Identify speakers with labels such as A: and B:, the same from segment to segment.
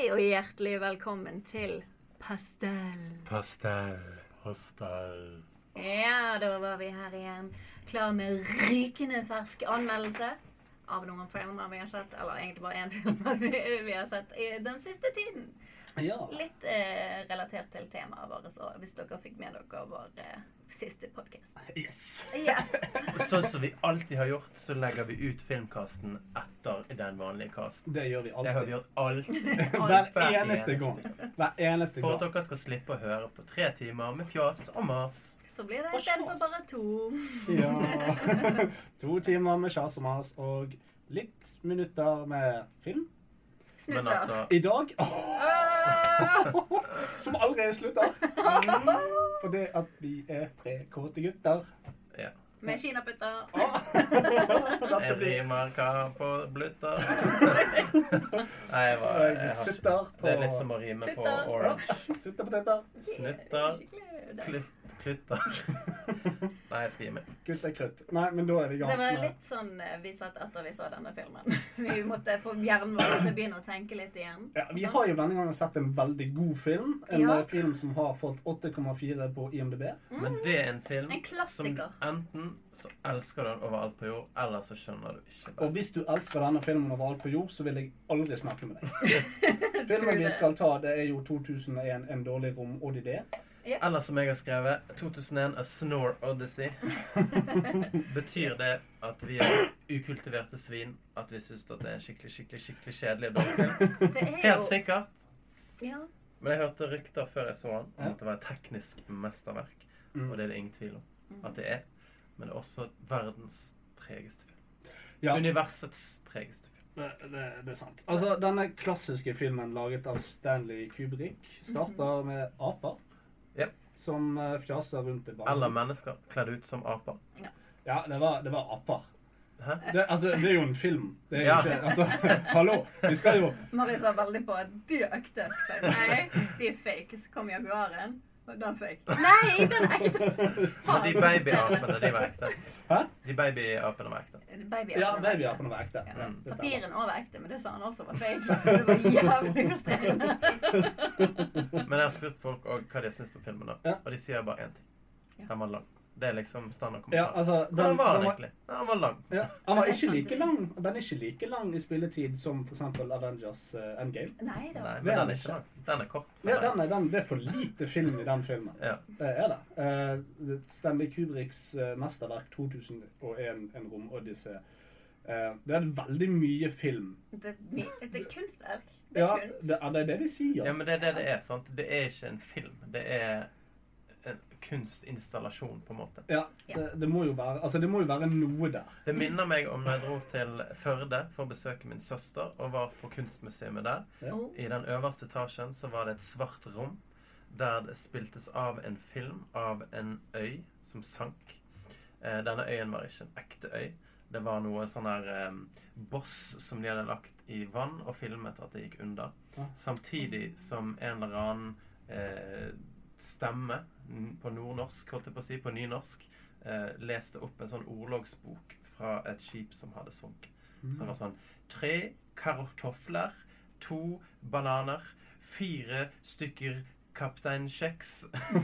A: Hjertelig velkommen til Pastell.
B: Pastell.
C: Pastell.
A: Ja, da var vi her igjen. Klar med rykende fersk anmeldelse av noen filmer vi har sett. Eller egentlig bare én film vi, vi har sett i den siste tiden.
B: Ja.
A: Litt eh, relatert til temaet vårt, så hvis dere fikk med dere vår eh, siste podkast.
B: Yes.
A: Yes.
C: Sånn som vi alltid har gjort, så legger vi ut filmkasten etter den vanlige kasten.
B: Det gjør vi
C: Det har vi
B: alltid.
C: gjort alltid.
B: Hver eneste gang. Hver eneste
C: For at
B: gang.
C: dere skal slippe å høre på tre timer med fjas og mas.
A: Så blir det istedenfor bare to.
B: Ja. To timer med kjas og mas og litt minutter med film.
C: Men
A: Snutter. Ah!
C: altså
B: I dag åh,
A: Åh!
B: Som allerede slutter. For det at vi er tre kåte gutter.
C: ja.
A: Med kinaputter.
B: Dette
C: Jeg
B: blir
C: rimer hva på blutter. Nei, jeg var jeg har
B: Jeg
C: ikke.
B: sutter på
C: Det er litt som å rime på
A: Sutter.
C: orange.
B: Sutter på tetter.
C: Snutter.
A: Skikkelig.
C: Klutt, klutter. Nei, jeg skal gi meg.
B: Gutt er krutt. Nei, men da er vi i gang.
A: Det var
B: med-
A: litt sånn eh, vi satt etter vi så denne filmen. Vi måtte få hjernen vår til å begynne å tenke litt igjen.
B: Ja, vi har jo denne gangen sett en veldig god film. En
A: Ja.
B: eh, film som har fått 8,4 på IMDb.
C: Men det er en film
A: En
C: som
A: klassiker.
C: enten så elsker du den overalt på jord, eller så skjønner du ikke
B: Og
C: den.
B: hvis du elsker denne filmen over alt på jord, så vil jeg aldri snakke med deg. Filmen vi skal ta, det er jo 2001 En dårlig rom ODD.
C: Eller som jeg har skrevet 2001 A Snore Odyssey. Betyr det at vi er ukultiverte svin? At vi syns at det er en skikkelig skikkelig, skikkelig kjedelig og dårlig film?
A: Det er
C: Helt
A: jo
C: sikkert.
A: ja,
C: Men jeg hørte rykter før jeg så den om
B: Ja.
C: at det var et teknisk mesterverk.
B: Mm.
C: Og det er det ingen tvil om at det er. Men det er også verdens tregeste film.
B: Ja, det,
C: Universets tregeste film.
B: det, det er sant. Altså, Denne klassiske filmen laget av Stanley Kubrick starter med aper.
C: Ja.
B: Som eh, fjaser rundt i
C: Eller
B: banen.
C: mennesker kledd ut som aper.
B: Ja, det var, det var aper.
C: Hæ?
B: Det, altså, det er jo en film. Det er jo
C: Ja.
B: ikke, altså, hallo! Vi skal jo
A: Marius var veldig på at de er ekte. Så jeg, nei, de er fake. Så kom jaguaren, og den fake. Nei, den er ekte!
C: Men de babyapene, de var ekte.
B: Hæ?
C: De babyapene var ekte.
A: Babyapen
B: Ja,
A: var ekte.
B: babyapene var ekte.
A: Ja.
B: Ja, det stemmer.
A: Papirene òg var ekte, men det sa han også var fake. Det var jævlig frustrerende.
C: Men jeg har spurt folk også hva de syns om filmen, da.
B: Ja.
C: og de sier bare én ting.
A: Ja.
C: Den var lang. Det er liksom
B: Ja,
C: standardkommentar.
B: altså, den,
C: Hvordan var den
B: den var,
C: egentlig? Ja, Den var lang.
B: ja, den var
A: Det er
B: ikke
A: sant,
B: like
A: det.
B: lang. Den er ikke like lang i spilletid som f.eks. Avengers eh, Endgame.
A: Nei da.
C: Nei, men
B: Det er
C: den
B: den
C: er ikke lang. Den er kort.
B: Ja, den er, den, det er for lite film i den filmen.
C: Ja.
B: Det er det. Eh, Stanley Kubricks eh, mesterverk 2001 En romodyssé. Eh, det er veldig mye film.
A: Det, det er kunstverk. Det
B: Ja,
A: er kunst.
B: det, ja, det er det de sier.
C: ja, men det er det det er. sant? Det er ikke en film. Det er en kunstinstallasjon, på en måte.
B: Ja, det, det, må jo være, altså, det må jo være noe der.
C: Det minner meg om da jeg dro til Førde for å besøke min søster, og var på kunstmuseet der.
A: Oh,
C: I den øverste etasjen så var det et svart rom der det spiltes av en film av en øy som sank. Eh, denne øyen var ikke en ekte øy. Det var noe sånn her eh, boss som de hadde lagt i vann og filmet at det gikk under.
B: Ja.
C: Samtidig som en eller annen eh, stemme n- på nordnorsk, holdt jeg på å si, på nynorsk, eh, leste opp en sånn ordlagsbok fra et skip som hadde sunket. Så det var sånn Tre kartofler, to bananer, fire stykker Kaptein Kjeks.
A: oi,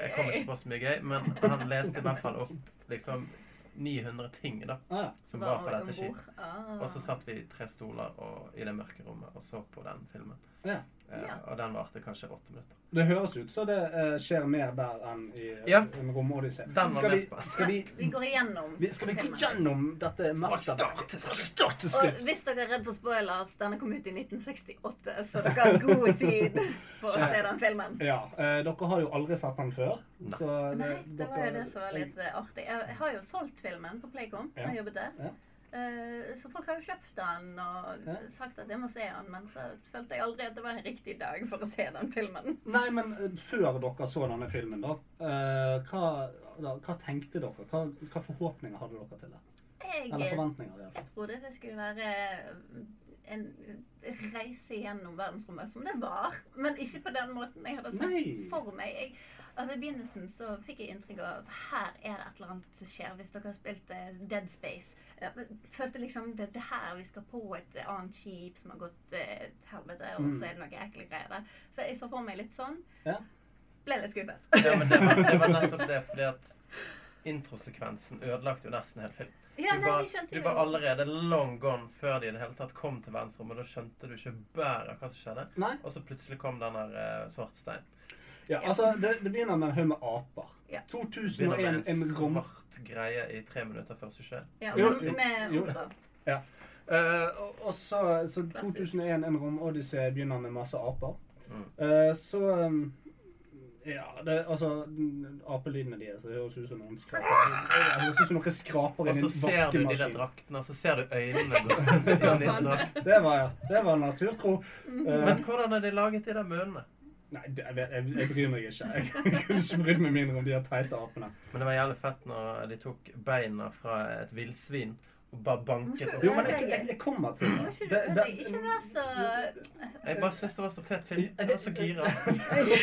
C: Jeg kommer
A: oi.
C: ikke på så mye gøy, men han leste i hvert fall opp liksom 900 ting da,
B: Ah, ja.
C: som var på
A: Bare
C: dette
A: ombord.
C: skipet.
A: Ah.
C: Og så satt vi i tre stoler og, i det mørke rommet og så på den filmen.
B: Ja.
C: Eh,
A: Ja.
C: og den varte kanskje åtte minutter.
B: Det høres ut så det eh, skjer mer der enn i eh,
C: Ja.
B: En romodyssé.
C: Den var
B: Skal,
C: mest
B: vi-
C: spennende.
B: skal vi
A: Vi går igjennom
B: Vi- Skal vi gå
A: filmen.
B: gjennom dette mesterverket? Fra start til
A: Og
B: slutt.
A: hvis dere er redd for spoilers, denne kom ut i 1968, så dere har god tid på å se den filmen.
B: Ja, eh, Dere har jo aldri sett den før.
C: Nei.
B: Så
A: Nei, det var jo
B: dere-
A: det som var litt eh, artig. Jeg jeg har jo solgt filmen på Playcom. når Jeg
B: Ja.
A: jobbet der.
B: Ja.
A: Eh, Så folk har jo kjøpt den og
B: Ja.
A: sagt at jeg må se den, men så følte jeg aldri at det var en riktig dag for å se den filmen.
B: Nei, men eh, før dere så denne filmen, da, eh, hva, da, hva tenkte dere? Hva, hva forhåpninger hadde dere til det?
A: Jeg,
B: Eller forventninger? i hvert fall.
A: jeg trodde det skulle være eh, en reise gjennom verdensrommet, som det var. Men ikke på den måten jeg hadde sett
B: Nei.
A: for meg. Jeg Altså I begynnelsen så fikk jeg inntrykk av at her er det et eller annet som skjer. Hvis dere har spilt eh, Dead Space. Eh, men Følte liksom det, det her vi skal på et eh, annet skip som har gått eh, til helvete, og
B: Mm.
A: så er det noe ekle greier der. Så jeg så for meg litt sånn.
B: Ja.
A: Ble litt skuffet.
C: Ja, men det var, det var nettopp det, fordi at introsekvensen ødelagte jo nesten hele filmen.
A: Ja,
C: du,
A: nei,
C: var,
A: jeg skjønte
C: du
A: det.
C: var allerede long gone før de i det hele tatt kom til verdensrommet. Da skjønte du ikke bæret av hva som skjedde.
B: Nei.
C: Og så plutselig kom den der eh, svartstein.
B: Ja, altså, det, det begynner med en haug med aper.
A: Ja.
C: Begynner med
B: 2001 en
C: en
B: rom...
C: svart greie i tre minutter før suksess.
A: Ja,
B: Jo,
A: men
B: jo,
A: med
B: jo.
A: opera.
B: Eh, og- og så, så
A: Klassisk.
B: 2001 en romodyssé begynner med masse aper.
C: Mm.
B: Eh, så um, Ja, det, altså n- Apelydene deres det høres ut som noen skraper Det høres ut som noen skraper
C: Og
B: inn
C: så
B: i en
C: ser du de der
B: vaskemaskin.
C: draktene, og så ser du øynene gå inn i de draktene.
B: Det var, ja, det var naturtro.
A: Mm.
B: Eh,
C: Men hvordan er de laget, de der munnene?
B: nei, det, jeg, vet- jeg, jeg bryr meg ikke. Jeg, kunne ikke brydd meg mindre om de der teite apene.
C: Men det var jævlig fett når de tok beina fra et villsvin og bare banket
B: Jo,
C: opp.
B: men jeg, jeg, jeg kommer til
A: Må
B: det.
A: ikke du-
B: det, det
A: Ikke vær så
C: Jeg bare syns det var så fett film. Jeg var så gira.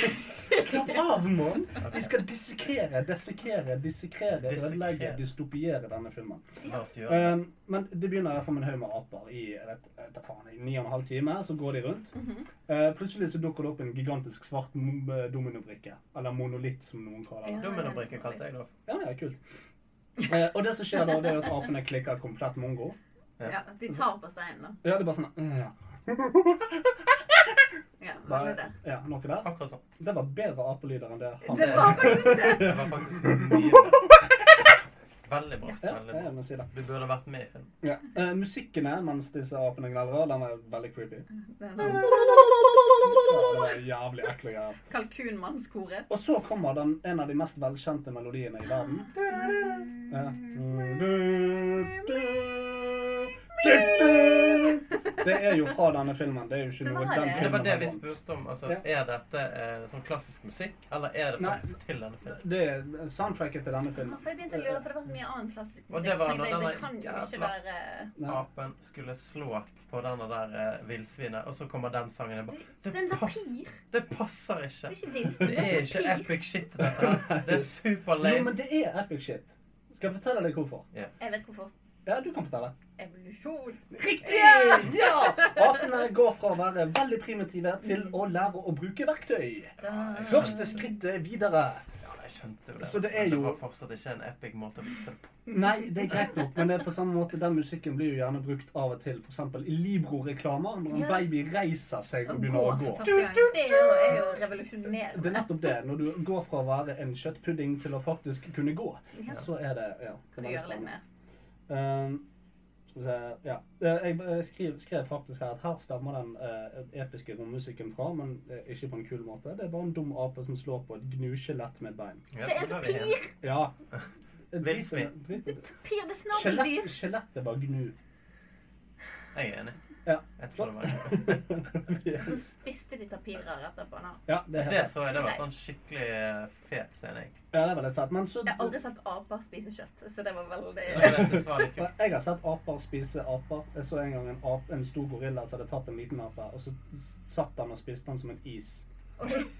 B: Slapp av, mann! Vi skal dissekere, dissekere, dissekere,
C: Dissekere.
B: ødelegge, dystopiere denne filmen.
C: La oss gjøre det.
B: Eh, men det begynner derfor med en haug med aper i jeg vet, jeg vet faen, i ni og en halv time. Så går de rundt. Eh, plutselig så dukker det opp en gigantisk svart mo- eh, dominobrikke. Eller monolitt, som noen kaller det.
C: Dominobrikke kalte jeg det.
B: Ja, ja, kult. Eh, og det som skjer da, det er at apene klikker komplett mongo.
A: Ja, de tar på steinen, da.
B: Ja, det er bare sånn eh, ja.
A: Ja, var det
B: Bare,
A: der.
B: ja, noe der.
C: Akkurat sånn.
B: Det var bedre apelyder enn det han
A: Det var faktisk det.
C: Det var faktisk mye bra. Veldig bra.
B: Ja,
C: veldig
B: det
C: bra.
B: må jeg si det.
C: Du burde vært med i filmen.
B: Ja. Eh, musikkene mens disse apene gneldrer, den var veldig creepy.
A: Det er
B: Ja,
A: sånn
B: det var jævlig ekle greier.
A: Kalkunmannskoret.
B: Og så kommer den, en av de mest velkjente melodiene i verden. Ja. Det er jo fra denne filmen. Det er jo ikke
A: Det
B: noe
A: var
B: den
A: det.
C: Det
B: filmen
C: var det
B: har
C: vi
B: vant.
C: spurte om. Altså,
B: Ja.
C: er dette eh, sånn klassisk musikk, eller er det
B: Nei.
C: faktisk til denne filmen?
B: Det er soundtracket til denne filmen.
A: For jeg begynte å lure, for det var så mye annen klassisk
C: Og
A: musikk.
C: det var
A: så tenkte jeg,
C: når
A: det kan
C: den
A: jo ikke
C: jævla-
A: være
B: Nei.
C: Apen skulle slå på denne der eh, villsvinet, og så kommer den sangen. Jeg bare,
A: Det er en
C: pass-
A: tapir.
C: det passer ikke.
A: Det er ikke villsvin.
C: Det er ikke epic shit, dette her. Det er super
B: Jo,
C: lame.
B: men det er epic shit. Skal jeg fortelle deg hvorfor?
A: Jeg vet hvorfor.
B: Ja, du kan fortelle.
A: Evolusjon.
B: Riktig! Ja! Apene går fra å være veldig primitive til å lære å bruke verktøy. Første skrittet videre.
C: Ja, jeg skjønte jo det.
B: Så det er
C: men
B: jo-
C: det var fortsatt ikke en epic måte å vise det på.
B: Nei, det er greit nok, men det er på samme måte den musikken blir jo gjerne brukt av og til f.eks. i Libro-reklamer, når en
A: Ja.
B: baby reiser seg
A: Å
B: og begynner
A: gå for
B: å gå.
A: første gang. Det er jo- er jo revolusjonerende.
B: Det er nettopp det. Når du går fra å være en kjøttpudding til å faktisk kunne gå,
A: Ja.
B: så er det Ja.
A: Kan du
B: det er
A: gjøre litt mer?
B: Um, skal vi se Ja. Eh, Jeg eh, skrev, skrev faktisk her at her stemmer den eh, episke rommusikken fra, men eh, ikke på en kul måte. Det er bare en dum ape som slår på et gnuskjelett med et bein.
C: Ja,
A: Det er en
C: da var vi
A: tapir!
C: enige.
B: Ja.
C: Villsvin.
B: Drit i det.
A: Tapir, det er
B: Skjelett-
A: snabeldyr.
B: Skjelettet var gnu.
C: Jeg er enig.
B: Ja,
C: Jeg tror det var enig.
A: Så spiste de tapirer etterpå. nå.
B: Ja, det er helt
C: Det så jeg, det var sånn skikkelig eh, fet scene, jeg.
B: Ja, det var litt fett. Men så
A: Jeg har aldri sett aper spise kjøtt, så det var veldig
C: Det var det jeg synes var litt kult.
B: Jeg har sett aper spise aper. Jeg så en gang en, ap, en stor gorilla som hadde tatt en liten ape, og så s- satt han og spiste den som en is.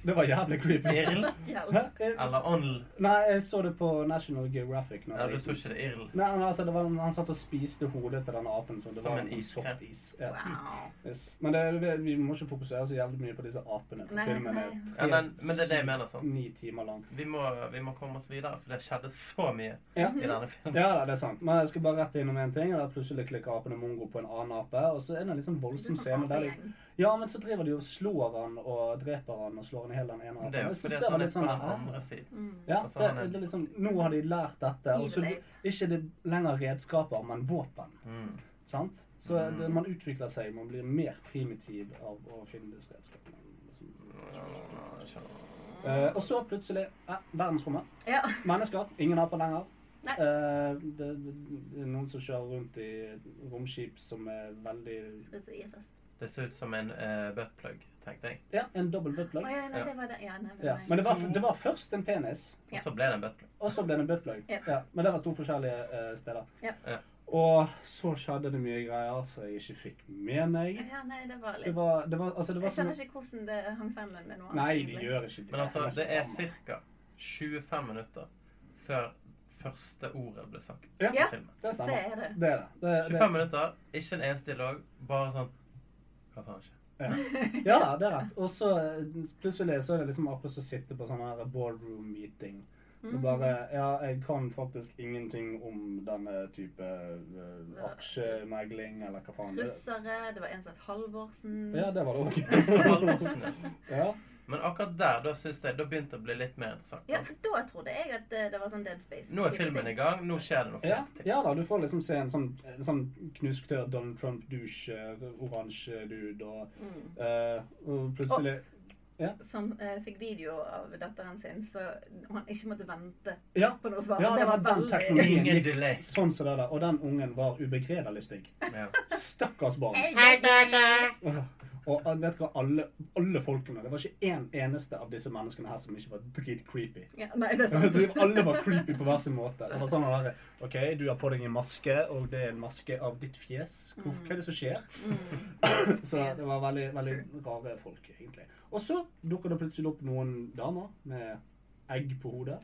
B: Det var jævlig creepy.
C: Irl
B: Hæ?
A: Hjelp.
B: Eh,
C: eller ånd?
B: Nei, jeg så det på National Geographic. Når
C: Ja,
B: jeg
C: du
B: var
C: så
B: liten.
C: ikke det irl?
B: Nei, men altså, det var, Han satt og spiste hodet til denne apen. Så det
C: Som
B: var
C: en
B: en sånn
C: is,
B: soft
C: ja.
B: is. Ja.
A: Wow.
B: Yes. Men det, vi, vi må ikke fokusere så jævlig mye på disse apene. For
A: Nei,
B: filmen er
A: nei.
C: Ja, men- men det er det jeg mener, sant?
B: ni timer lang.
C: Vi må, vi må komme oss videre, for det skjedde så mye
B: Ja.
A: Mhm.
C: i denne filmen.
B: Ja, da, det er sant. Men jeg skal bare rette innom én ting. og da Plutselig klikker apen og mongo på en annen ape. Og så er det en litt sånn
A: Det er
B: voldsom
A: sånn
B: scene der de
A: apegjeng.
B: Ja, men så driver de og slår han og dreper han og slår han i hele den ene
C: Men Det er
B: apen.
C: jo
B: Jeg synes
C: fordi
B: det
C: at
B: var
C: han er
B: litt
C: på
B: sånn
C: den
B: ah,
C: andre siden.
A: Mm.
B: ja,
C: Altså,
B: det,
C: han er-
B: det er liksom, Nå har de lært dette, og så
A: Evil ape.
B: ikke det lenger redskaper, men våpen.
C: Mm.
B: Sant? Så
C: Mm.
B: det, man utvikler seg, man blir mer primitiv av å finne disse redskapene.
C: Ja, jeg skjønner.
B: Eh, og så plutselig eh, verdensrommet.
A: Ja.
B: Mennesker. Ingen aper lenger.
A: Nei.
B: Eh, det, det, det er noen som kjører rundt i romskip som er veldig
A: Ser ut som ISS.
C: Det ser ut som en uh, buttplug, tenkte jeg.
B: Ja, en dobbel
A: Å
B: buttplug.
A: ja, nei,
C: Ja.
A: det var det. Ja, nei,
B: Ja. Men det var, det var først en penis.
C: Og så ble det en buttplug.
B: Og så ble det en buttplug.
A: Ja.
B: Ja, men det var to forskjellige eh, steder.
A: Ja.
C: Ja.
B: Og så skjedde det mye greier som jeg ikke fikk med meg.
A: Ja, nei, det var
B: Det
A: litt
B: var, det var, altså, det var
A: Jeg
B: som
A: skjønner ikke hvordan det hang sammen med noe
B: Nei,
A: annet,
B: de
A: egentlig.
B: gjør ikke det.
C: Men altså,
B: henger
C: det
B: ikke
C: er
B: sammen.
C: cirka 25 minutter før første ordet ble sagt
B: Ja.
C: i filmen.
B: Det
A: Det
B: stemmer.
A: er det.
B: Det er det. det, det.
C: 25 minutter, ikke en eneste dialog, bare sånn Hva faen skjer?
B: Ja da, det er rett. Og så eh, plutselig så er det liksom akkurat som å sitte på sånn her boardroom meeting. Og
A: Mm.
B: bare Ja, jeg kan faktisk ingenting om denne type eh, aksjemegling, eller hva faen det er.
A: Russere, det var en som het Halvorsen.
B: Ja, det var det òg.
C: Halvorsen, ja.
B: ja.
C: Men akkurat der da synes jeg, da begynte det å bli litt mer interessant.
A: Ja, for da trodde jeg at eh, det var sånn Dead Space.
C: Nå er filmen i gang, nå skjer det noe
B: Ja,
C: fett.
B: ja da, du får liksom se en sånn, en sånn knusktørr Donald Trump-dusj, eh, oransje dude, og,
A: Mm.
B: eh, og plutselig
A: Som eh, fikk video av datteren sin, så han ikke måtte vente
B: Ja.
A: på noe svar.
B: Ja, det var den teknologien.
C: Ingen
B: gikk
C: delay.
B: Sånn som det der. Og den ungen var ubegredelig stygg.
C: Ja.
B: Stakkars barn.
A: Hei, datter!
B: Og eh, vet du hva, alle, alle folkene Det var ikke én eneste av disse menneskene her som ikke var dritcreepy.
A: Ja, nei, det er sant.
B: De var- Alle var creepy på hver sin måte. Det var sånn der, OK, du har på deg en maske, og det er en maske av ditt fjes. Hvorfor, hva er det som skjer?
A: Mm.
B: Så det var veldig, veldig rare folk, egentlig. Og så dukker det plutselig opp noen damer med egg på hodet.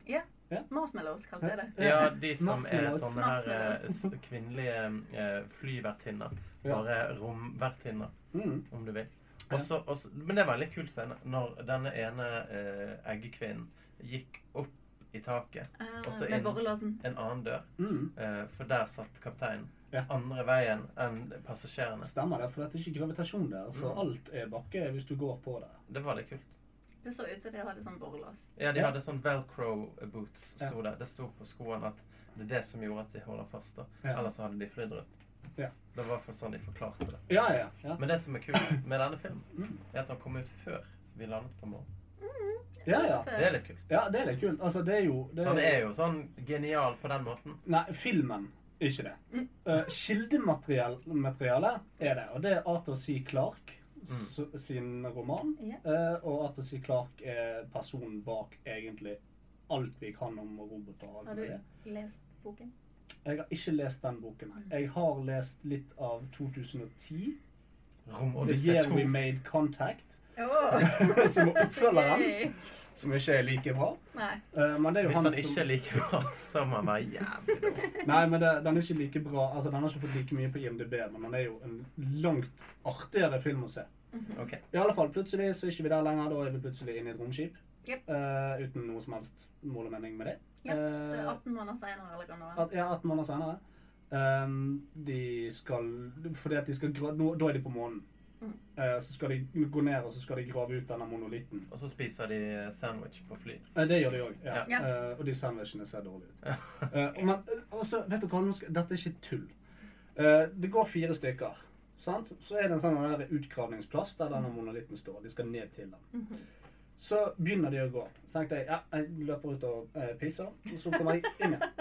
A: Marshmallows kalte jeg det.
C: ja, de som er
B: Masse-
C: sånne her eh, s- kvinnelige eh, flyvertinner.
B: Ja.
C: Bare romvertinner,
B: Mm.
C: om du vil. Og så- og så- men det var en litt kul scene når denne ene eh, eggekvinnen gikk opp i taket
A: Ah,
C: Og så inn.
A: med borrelåsen.
C: en annen dør,
B: Mm.
C: eh, for der satt kapteinen.
B: Ja.
C: Andre veien enn passasjerene.
B: Stemmer det, for det er ikke gravitasjon der, så
C: Mm.
B: alt er bakke hvis du går på det.
C: Det var litt kult.
A: Det så ut som de hadde sånn borrelås.
C: Ja, de
B: Ja.
C: hadde sånn velcro boots,
B: Ja.
C: sto det. Det sto på skoene at det er det som gjorde at de holder fast. da.
B: Ja.
C: Ellers så hadde de flydd rundt.
B: Ja.
C: Det var i hvert fall sånn de forklarte det.
B: Ja, ja, ja.
C: Men det som er kult med denne filmen,
B: Mm.
C: er at den kom ut før vi landet på morgenen.
B: Ja, ja.
C: Det er litt kult.
B: ja, det er litt kult. Altså, det er jo det
C: Så han er jo sånn genial på den måten.
B: Nei, filmen er ikke det.
A: Mm.
B: Eh, Kildematerialet er det, og det er Arthur C. Clarke
C: Mm.
B: s- sin roman.
A: Ja.
B: Eh, og Arthur C. Clarke er personen bak egentlig alt vi kan om roboter. og alt
A: Har
B: mulig.
A: du lest boken?
B: Jeg har ikke lest den boken. her. Jeg har lest litt av 2010.
C: Rom og
B: The
C: disse
B: Year
C: to.
B: We Made Contact.
A: Åh,
B: som er oppfølgeren,
A: Yay.
B: som ikke er like bra.
A: Nei.
B: Eh, men det er jo
C: Hvis
B: han
C: han ikke er like bra, så må han være jævlig dårlig.
B: som Nei, men det, den er ikke like bra. Altså, den har ikke fått like mye på IMDb, men den er jo en langt artigere film å se.
C: Ok.
B: I alle fall, plutselig så er ikke vi der lenger. Da er vi plutselig inne i et romskip.
A: Jep.
B: Eh, uten noe som helst mål og mening med det.
A: Ja, Det er
B: Eh,
A: 18 måneder senere, eller hva nå? er.
B: at, ja, 18 måneder senere. Ehm, de skal Fordi at de skal gra nå, Da er de på månen.
A: Mm.
B: Eh, så skal de gå ned og så skal de grave ut denne monolitten.
C: Og så spiser de sandwich på fly.
B: Eh, det gjør de òg. Ja.
A: Ja.
B: Eh, og de sandwichene ser dårlige ut. Eh, men eh, også, vet du hva, nå skal, dette er ikke tull. Eh, det går fire stykker. Sant? Så er det en sånn der utgravningsplass der denne monolitten står. De skal ned til den.
A: Mhm.
B: Så begynner de å gå. Så tenkte jeg ja, jeg løper ut og eh, pisser, og så kommer jeg inn igjen.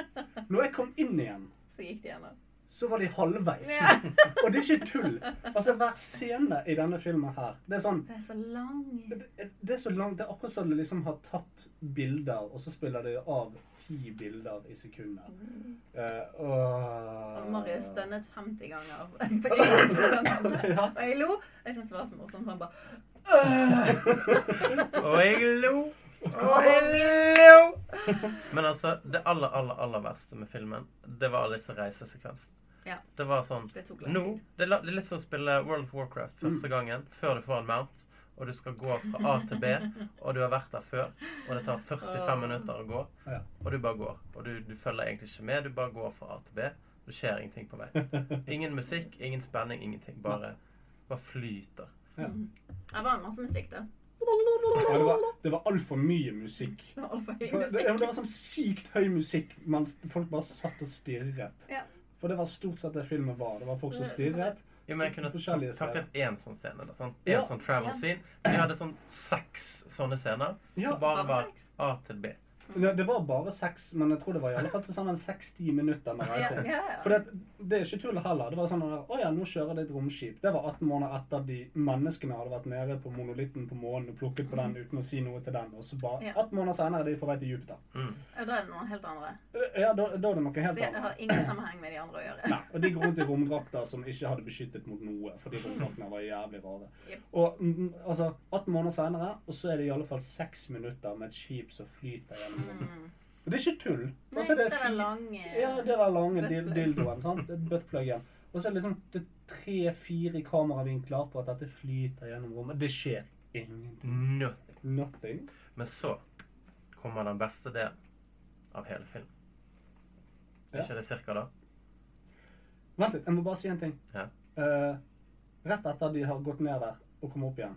B: Når jeg kom inn igjen,
A: Så gikk de gjennom.
B: så var de halvveis.
A: Ja.
B: Og det er ikke tull. Altså, hver scene i denne filmen her, det er sånn
A: Det er så lang.
B: det det er så langt, det er akkurat som du liksom har tatt bilder, og så spiller de av ti bilder i sekundet. Eh, og...
A: Og Marius stønnet 50 ganger. På en gang.
B: Ja.
A: Og jeg lo. Jeg syntes det var så morsomt. for Han bare
C: Og jeg lo. Og jeg lo. Men altså, det aller, aller, aller verste med filmen, det var disse reisesekvensene.
A: Ja.
C: Det var sånn
A: Det tok lang
C: Nå,
A: tid.
C: det er la- det er litt som å spille World of Warcraft første gangen, før du får en mount, og du skal gå fra A til B, og du har vært der før, og det tar 45 minutter å gå,
B: Ja.
C: og du bare går. Og du, du følger egentlig ikke med, du bare går fra A til B. Det skjer ingenting på vei. Ingen musikk, ingen spenning, ingenting. Bare, bare flyter.
A: Mhm. Det var masse musikk, da.
B: Ja, det var, det var altfor mye musikk.
A: Det var altfor høy
B: For det, ja,
A: musikk.
B: men det var sånn sykt høy musikk mens folk bare satt og stirret.
A: Ja.
B: For det var stort sett det filmen var. Det var folk som stirret.
C: Jo, men jeg kunne
B: Forskjellige
C: tak- taklet én sånn scene. Da, sant? En
B: Ja.
C: sånn travel
A: Ja.
C: scene. Vi hadde sånn seks sånne scener.
B: Ja.
C: Det bare
A: Bare
C: var
A: seks?
C: A til B.
B: Det, det var bare seks, men jeg tror det var i alle fall til sammen 60 minutter med
A: Ja,
B: reising.
A: ja,
B: For
A: ja.
B: det, det er ikke tull heller. Det var sånn der, Å ja, nå kjører det et romskip. Det var 18 måneder etter de menneskene hadde vært nede på monolitten på månen og plukket på den uten å si noe til den. Og så bare
A: Ja.
B: 18 måneder senere er de på vei til Jupiter. Øh,
C: Mm.
A: Ja, Da er det noen helt andre.
B: Ja, da, da er det noe helt
A: Det
B: annet.
A: har ingen sammenheng med de andre å gjøre.
B: Nei, og de går rundt i romdrakter som ikke hadde beskyttet mot noe, fordi romdraktene var jævlig rare. mm,
A: Jep.
B: Og mm, altså, 18 måneder senere, og så er det i alle fall 6 minutter med et skip som flyter gjennom
A: Mm.
B: Og det er ikke tull.
A: Nei,
B: Altså, det
A: det
B: er
A: er
B: fi-
A: lange
B: ja, det er den lange dil-
A: Buttplug.
B: dildoen. sant? Det er Buttpluggen. Og så er det liksom det er tre-fire kameravinkler på at dette flyter gjennom rommet. Det skjer ingenting.
C: Nø.
B: Nothing.
C: Men så kommer den beste delen av hele filmen. Er
B: Ja.
C: ikke det cirka da?
B: Vent litt, jeg må bare si en ting.
C: Ja.
B: Eh, rett etter de har gått ned der og kommet opp igjen,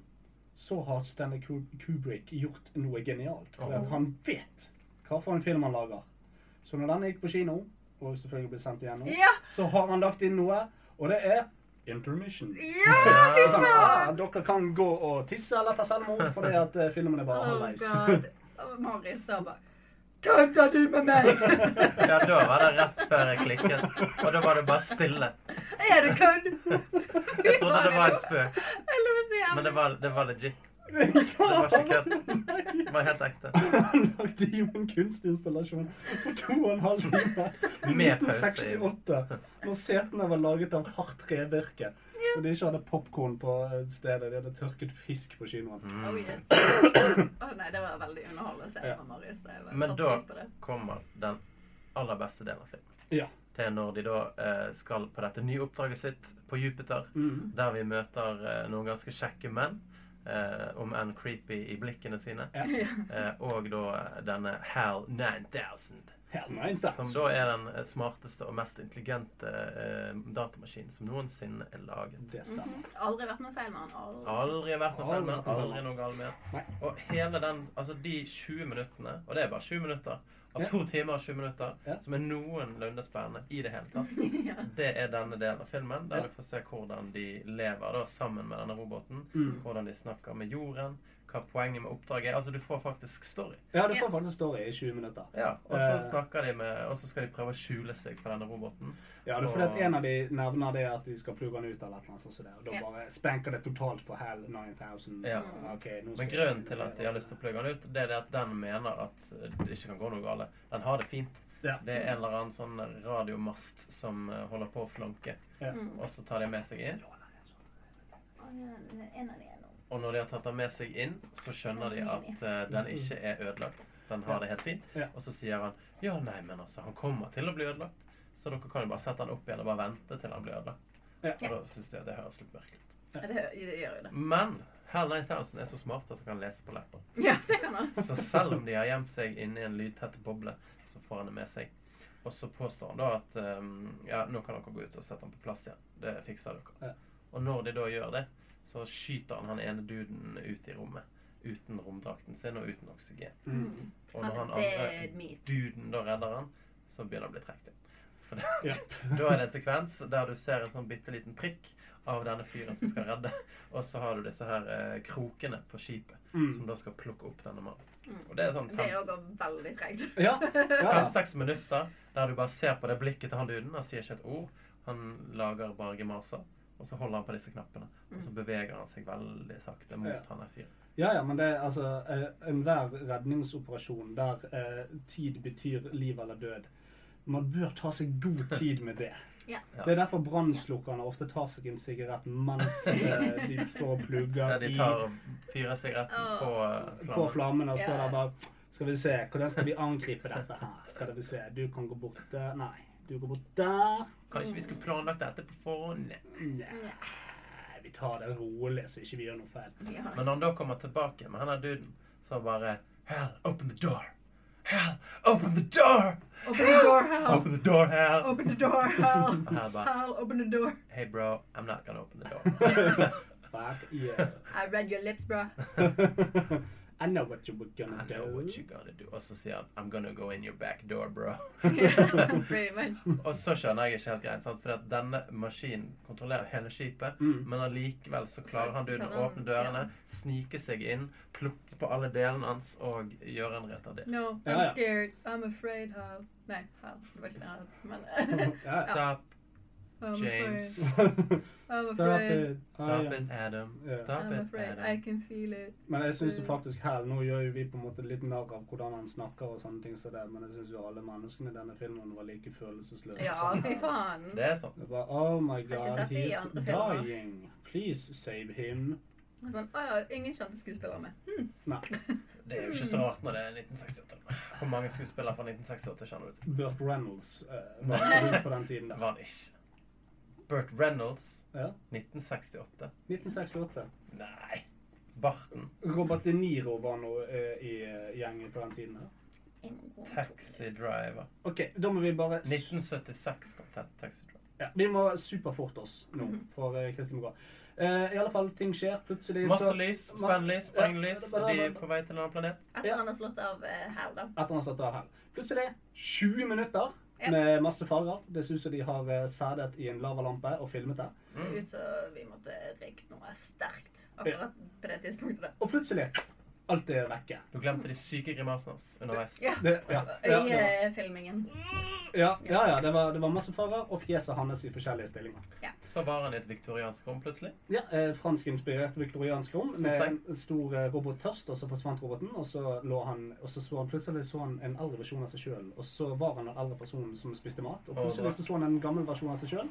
B: så har Stanley Kub- Kubrick gjort noe genialt. For
C: Åh.
B: at han vet hva for en film han lager. Så når denne gikk på kino, og selvfølgelig ble sendt igjennom,
A: Ja!
B: så har han lagt inn noe, og det er intermission.
A: Ja!
B: Det
A: Fy
B: er sånn, ah,
A: faen!
B: dere kan gå og tisse eller ta selvmord fordi at eh, filmen er bare
A: Oh
B: halvveis.
A: god. Og Marius sa bare Kødder du med meg?!
C: Ja, da var det rett før jeg klikket. Og da var det bare stille.
A: Er du kødd?
C: Jeg trodde det var en spøk,
A: Eller hva sier
C: men det var, det var legit.
B: det
C: var ikke kødd. Det var helt ekte.
B: Han lagde jo en kunstinstallasjon på to og en halv time.
C: Med pause.
B: 1968. Når setene var laget av hardt trevirke. Og de ikke hadde popkorn på eh, stedet. De hadde tørket fisk på kinoen.
A: Oh, yes. Å nei, det var veldig underholdende å se
B: Ja.
A: på Marius. Jeg var-
C: Men
A: satte
C: da
A: pris på det.
C: kommer den aller beste delen av filmen.
B: Ja.
C: Det er når de da eh, skal på dette nye oppdraget sitt på Jupiter,
B: Mhm.
C: der vi møter eh, noen ganske kjekke menn, eh, om enn creepy i blikkene sine,
B: Ja.
C: eh, og da eh, denne Hal 9000.
B: Hell, nei, da.
C: Som da er den eh, smarteste og mest intelligente eh, datamaskinen som noensinne er laget.
B: Det stemmer.
A: Aldri vært noe feil med han. Aldri.
C: Aldri vært noe feil med den,
B: Aldri.
C: aldri noe galt med
B: Nei.
C: den. Og hele den, altså de 20 minuttene, og det er bare 20 minutter, av
B: Ja.
C: to timer og 20 minutter,
B: Ja.
C: som er noenlunde spennende i det hele tatt,
A: Ja.
C: det er denne delen av filmen,
B: Ja.
C: der du får se hvordan de lever da sammen med denne roboten,
B: Mm.
C: hvordan de snakker med jorden, hva poenget med oppdraget er. Altså, du får faktisk story.
B: Ja, du får faktisk story i 20 minutter.
C: Ja, og så
B: Eh.
C: snakker de med, og så skal de prøve å skjule seg for denne roboten.
B: Ja, det er fordi at en av de nevner det at de skal plugge den ut eller et eller annet sånt. som det, Og da
A: Ja.
B: bare spanker det totalt for Hell 9000.
C: Ja.
B: Ok,
C: Men
B: nå skal jeg-
C: grunnen til at de har lyst til å plugge den ut, det er det at den mener at det ikke kan gå noe galt. Den har det fint.
B: Ja.
C: Det er en eller annen sånn radiomast som eh, holder på å flanke,
B: Ja.
C: og så tar de med seg inn.
A: Å, ja, det er En av de er nå.
C: Og når de har tatt den med seg inn, så skjønner de at eh, den ikke er ødelagt. Den har det helt fint.
B: Mm. Ja.
C: Og så sier han ja, nei, men altså, han kommer til å bli ødelagt. Så dere kan jo bare sette den opp igjen og bare vente til han blir ødelagt.
B: Ja.
C: Og da syns jeg det høres litt merkelig ut.
A: Ja, Det, hø- det gjør jo det.
C: Men Hell 9000 er så smart at han kan lese på lepper.
A: Ja, det kan han.
C: Så selv om de har gjemt seg inni en lydtett boble, så får han det med seg. Og så påstår han da at ehm, ja, nå kan dere gå ut og sette han på plass igjen. Det fikser dere.
B: Ja.
C: Og når de da gjør det, så skyter han han ene duden ut i rommet. Uten romdrakten sin og uten oksygen.
B: Mm.
C: Og
A: Han
C: når
A: er
C: han andre
A: dead meat.
C: duden da redder han, så begynner han å bli trukket inn. For det,
B: Ja.
C: da er det en sekvens der du ser en sånn bitte liten prikk av denne fyren som skal redde, og så har du disse her eh, krokene på skipet
B: Mm.
C: som da skal plukke opp denne mannen.
A: Mm.
C: Og det er sånn
A: Det
C: fem-
A: òg går veldig tregt.
B: Ja. ja.
C: fem-seks minutter der du bare ser på det blikket til han duden. Han sier ikke et ord. Han lager bare grimaser. Og så holder han på disse knappene. Og
A: Mm.
C: så beveger han seg veldig sakte mot
B: Ja.
C: han der fyren.
B: Ja, ja, men det er altså eh, enhver redningsoperasjon der eh, tid betyr liv eller død. Man bør ta seg god tid med det.
A: Ja.
B: Det er derfor brannslukkerne ofte tar seg en sigarett mens eh, de står og
C: Der
B: plugger
C: de tar og fyrer sigaretten på eh,
B: i, på
C: flammen.
B: flammene og står
A: Ja.
B: der bare Skal vi se, hvordan skal vi angripe dette her? Skal vi se, Du kan gå bort der. Nei, du går bort der.
C: Kanskje vi skulle planlagt dette på forhånd?
B: Nei, vi tar det rolig, så ikke vi gjør noe feil.
A: Ja.
C: Men når han da kommer tilbake med han der duden, så bare Hell, open the door! Hell, open the door!
A: Open the door, hell!
C: Open the door, hell!
A: Open the door, hell!
C: Og her bare
A: Hell, open the door.
C: Hey, bro, I'm not gonna open the door.
B: Fuck yeah.
A: I read your lips, bro.
B: I know what you were gonna
C: I know
B: do.
C: what you're gonna do. Og så sier han I'm gonna go in your back door, bro.
A: Yeah, pretty much.
C: Og så skjønner jeg ikke helt greit, sant? for at denne maskinen kontrollerer hele skipet,
B: Mm.
C: men allikevel så klarer han duden å åpne dørene, snike seg inn, plukke på alle delene hans og gjøre en retardert.
A: No,
B: Ja, ja.
A: I'm scared. I'm afraid, hell. Nei, hell. Det var ikke det. Men
B: Ja. Ah,
C: Stop,
A: I'm
C: James.
A: afraid. I'm
B: Stop
A: afraid.
B: it. Ah,
C: Stop
B: ja.
C: it, Adam.
B: Ja.
C: Stop
A: I'm
C: it,
A: afraid. I
C: Adam.
A: can feel it.
B: Men jeg syns
A: Mm.
B: faktisk her Nå gjør jo vi på en måte litt narr av hvordan han snakker og sånne ting som det, men jeg syns jo alle menneskene i denne filmen var like følelsesløse.
A: Ja,
B: som
A: fy
B: han.
A: faen.
C: Det er sånn.
B: Det var, oh my
A: ikke
B: god,
A: sett det i
B: he's
A: andre filmer.
B: dying. Please save him.
A: Sånn, å ja, ingen kjente skuespillere med.
B: Nei.
C: Det er jo ikke så rart når det er 1968. Hvor mange skuespillere fra 1968 kjenner du til?
B: Burt Reynolds eh, var rundt på den tiden der.
C: Var det ikke. Burt Reynolds,
B: Ja.
C: 1968.
B: 1968.
C: Nei. Barton.
B: Robert De Niro var nå eh, i eh, gjengen på den tiden her.
C: Taxi Driver.
B: OK, da må vi bare s-
C: 1976 kom ta Taxi Driver.
B: ja, Vi må superforte oss nå for eh, Kristin Mogaa. Eh, I alle fall, ting skjer. Plutselig så
C: Masse lys, spennlys, sprenglys.
B: Ja,
C: De er på vei til en annen planet.
A: Etter han har slått av eh, her, da.
B: Etter han har slått av her. Plutselig 20 minutter
A: Ja.
B: med masse farer. Det ser ut som de har eh, sædet i en lavalampe og filmet det.
A: Ser
C: Mm.
A: ut som vi måtte rigge noe sterkt akkurat på det tidspunktet.
B: Og plutselig alt er vekke.
C: Du glemte de syke grimasene hans underveis.
A: Ja.
B: Det, ja, ja,
A: I
B: det var,
A: eh, filmingen.
B: ja, ja, ja det, var, det var masse farer og fjeset hans i forskjellige stillinger.
C: Så var han i et viktoriansk rom plutselig.
B: Ja, eh, Franskinspirert viktoriansk rom
C: Stor
B: med
C: seng.
B: en stor eh, robot først, og så forsvant roboten. Og så lå han, og så så han plutselig så han en eldre versjon av seg sjøl. Og så var han den eldre personen som spiste mat. Og
C: Å,
B: plutselig
C: bra.
B: så så han en gammel versjon av seg sjøl.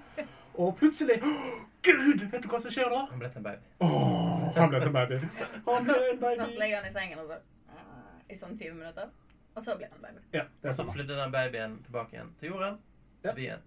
B: Og plutselig Gud! Vet du hva som skjer da?
C: Han ble til en baby.
B: Åh, han ble til baby. Han ble en
A: Først
B: baby.
A: legger han i sengen og så eh, i sånn 20 minutter. Og så blir han baby.
B: Ja, det
C: Og
B: er
C: så
B: sånn.
C: flydde den babyen tilbake igjen til jorden.
B: Ja.
C: The end.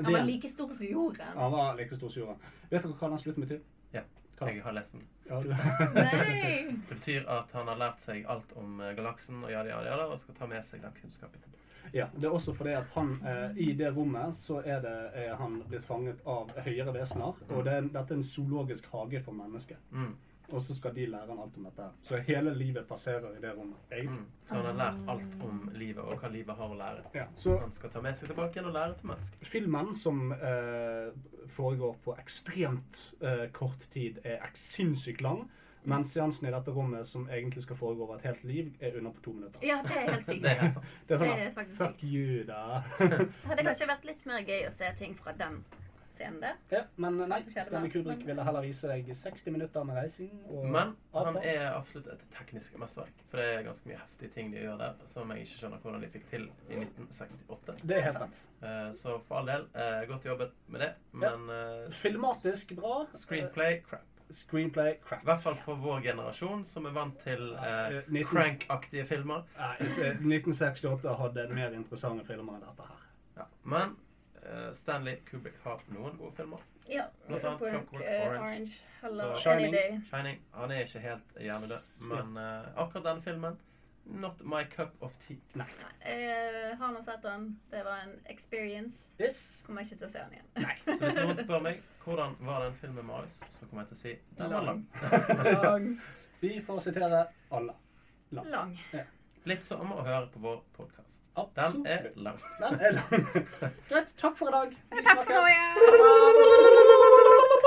A: Han var like stor som jorden.
B: Han var like stor som jorden. Vet dere hva han slutter med til?
C: Ja. Jeg har lest den.
B: Ja, du...
A: Nei!
C: Det betyr at han har lært seg alt om eh, galaksen og jada, jada, jada, og skal ta med seg den kunnskapen tilbake.
B: Ja, det er også fordi at han eh, i det rommet så er, det, er han blitt fanget av høyere vesener. Og det er, en- dette er en zoologisk hage for mennesker.
C: Mm.
B: Og så skal de lære han alt om dette. her. Så hele livet passerer i det rommet. egentlig.
C: Mm. Så han har lært alt om livet og hva livet har å lære.
B: Ja, så
C: Han skal ta med seg tilbake igjen og lære til mennesker.
B: filmen som eh, foregår på ekstremt eh, kort tid, er ek- sinnssykt lang. Mens seansen i dette rommet som egentlig skal foregå over et helt liv, er under på to minutter.
A: Ja, det er helt sykt.
C: Det er helt sant.
B: Det er sånn
A: Det er
B: at,
A: faktisk
B: Fuck
A: sykt.
B: you, da.
A: Hadde kanskje vært litt mer gøy å se ting fra den scenen der.
B: ja, men nei,
A: Så skjer det
B: Stanley
A: noe.
B: Kubrick ville heller vise deg 60 minutter med reising. Og
C: Men han
B: avfall.
C: er absolutt et teknisk mesterverk. For det er ganske mye heftige ting de gjør der, som jeg ikke skjønner hvordan de fikk til i 1968.
B: Det er helt sant.
C: Eh, Så for all del, eh, godt jobbet med det, men eh,
B: Filmatisk bra.
C: screenplay crap.
B: Eh, Screenplay
C: I
B: crap.
C: hvert fall for vår generasjon, som er vant til eh,
B: Eh, 19
C: crank-aktige filmer.
B: Nei, jeg ser- 1968 hadde mer interessante filmer enn dette her.
C: Ja. Men eh, Stanley Kubrick har noen gode filmer.
A: Ja.
C: Blant annet
A: Clockwork
C: Clockwork
A: eh,
C: Orange.
A: Orange. Hello,
C: Så-
B: Shining.
A: Any Day.
C: Shining. Han er ikke helt hjernedød, men eh, akkurat denne filmen Not my cup of tea.
A: Jeg har nå sett den. eh, Det var en experience.
B: Yes.
A: Kommer ikke til å se den igjen.
B: Nei.
C: Så hvis noen spør meg hvordan var den filmen med Alice, så kommer jeg til å si den var lang.
A: Lang.
B: Eh, Vi får sitere alle.
A: Lang.
C: Litt som å høre på vår podkast. Den er
B: Absolutt.
C: lang.
B: Den er lang. Greit. Takk for i dag. Vi
A: Takk for nå,
B: snakkes.
A: ja.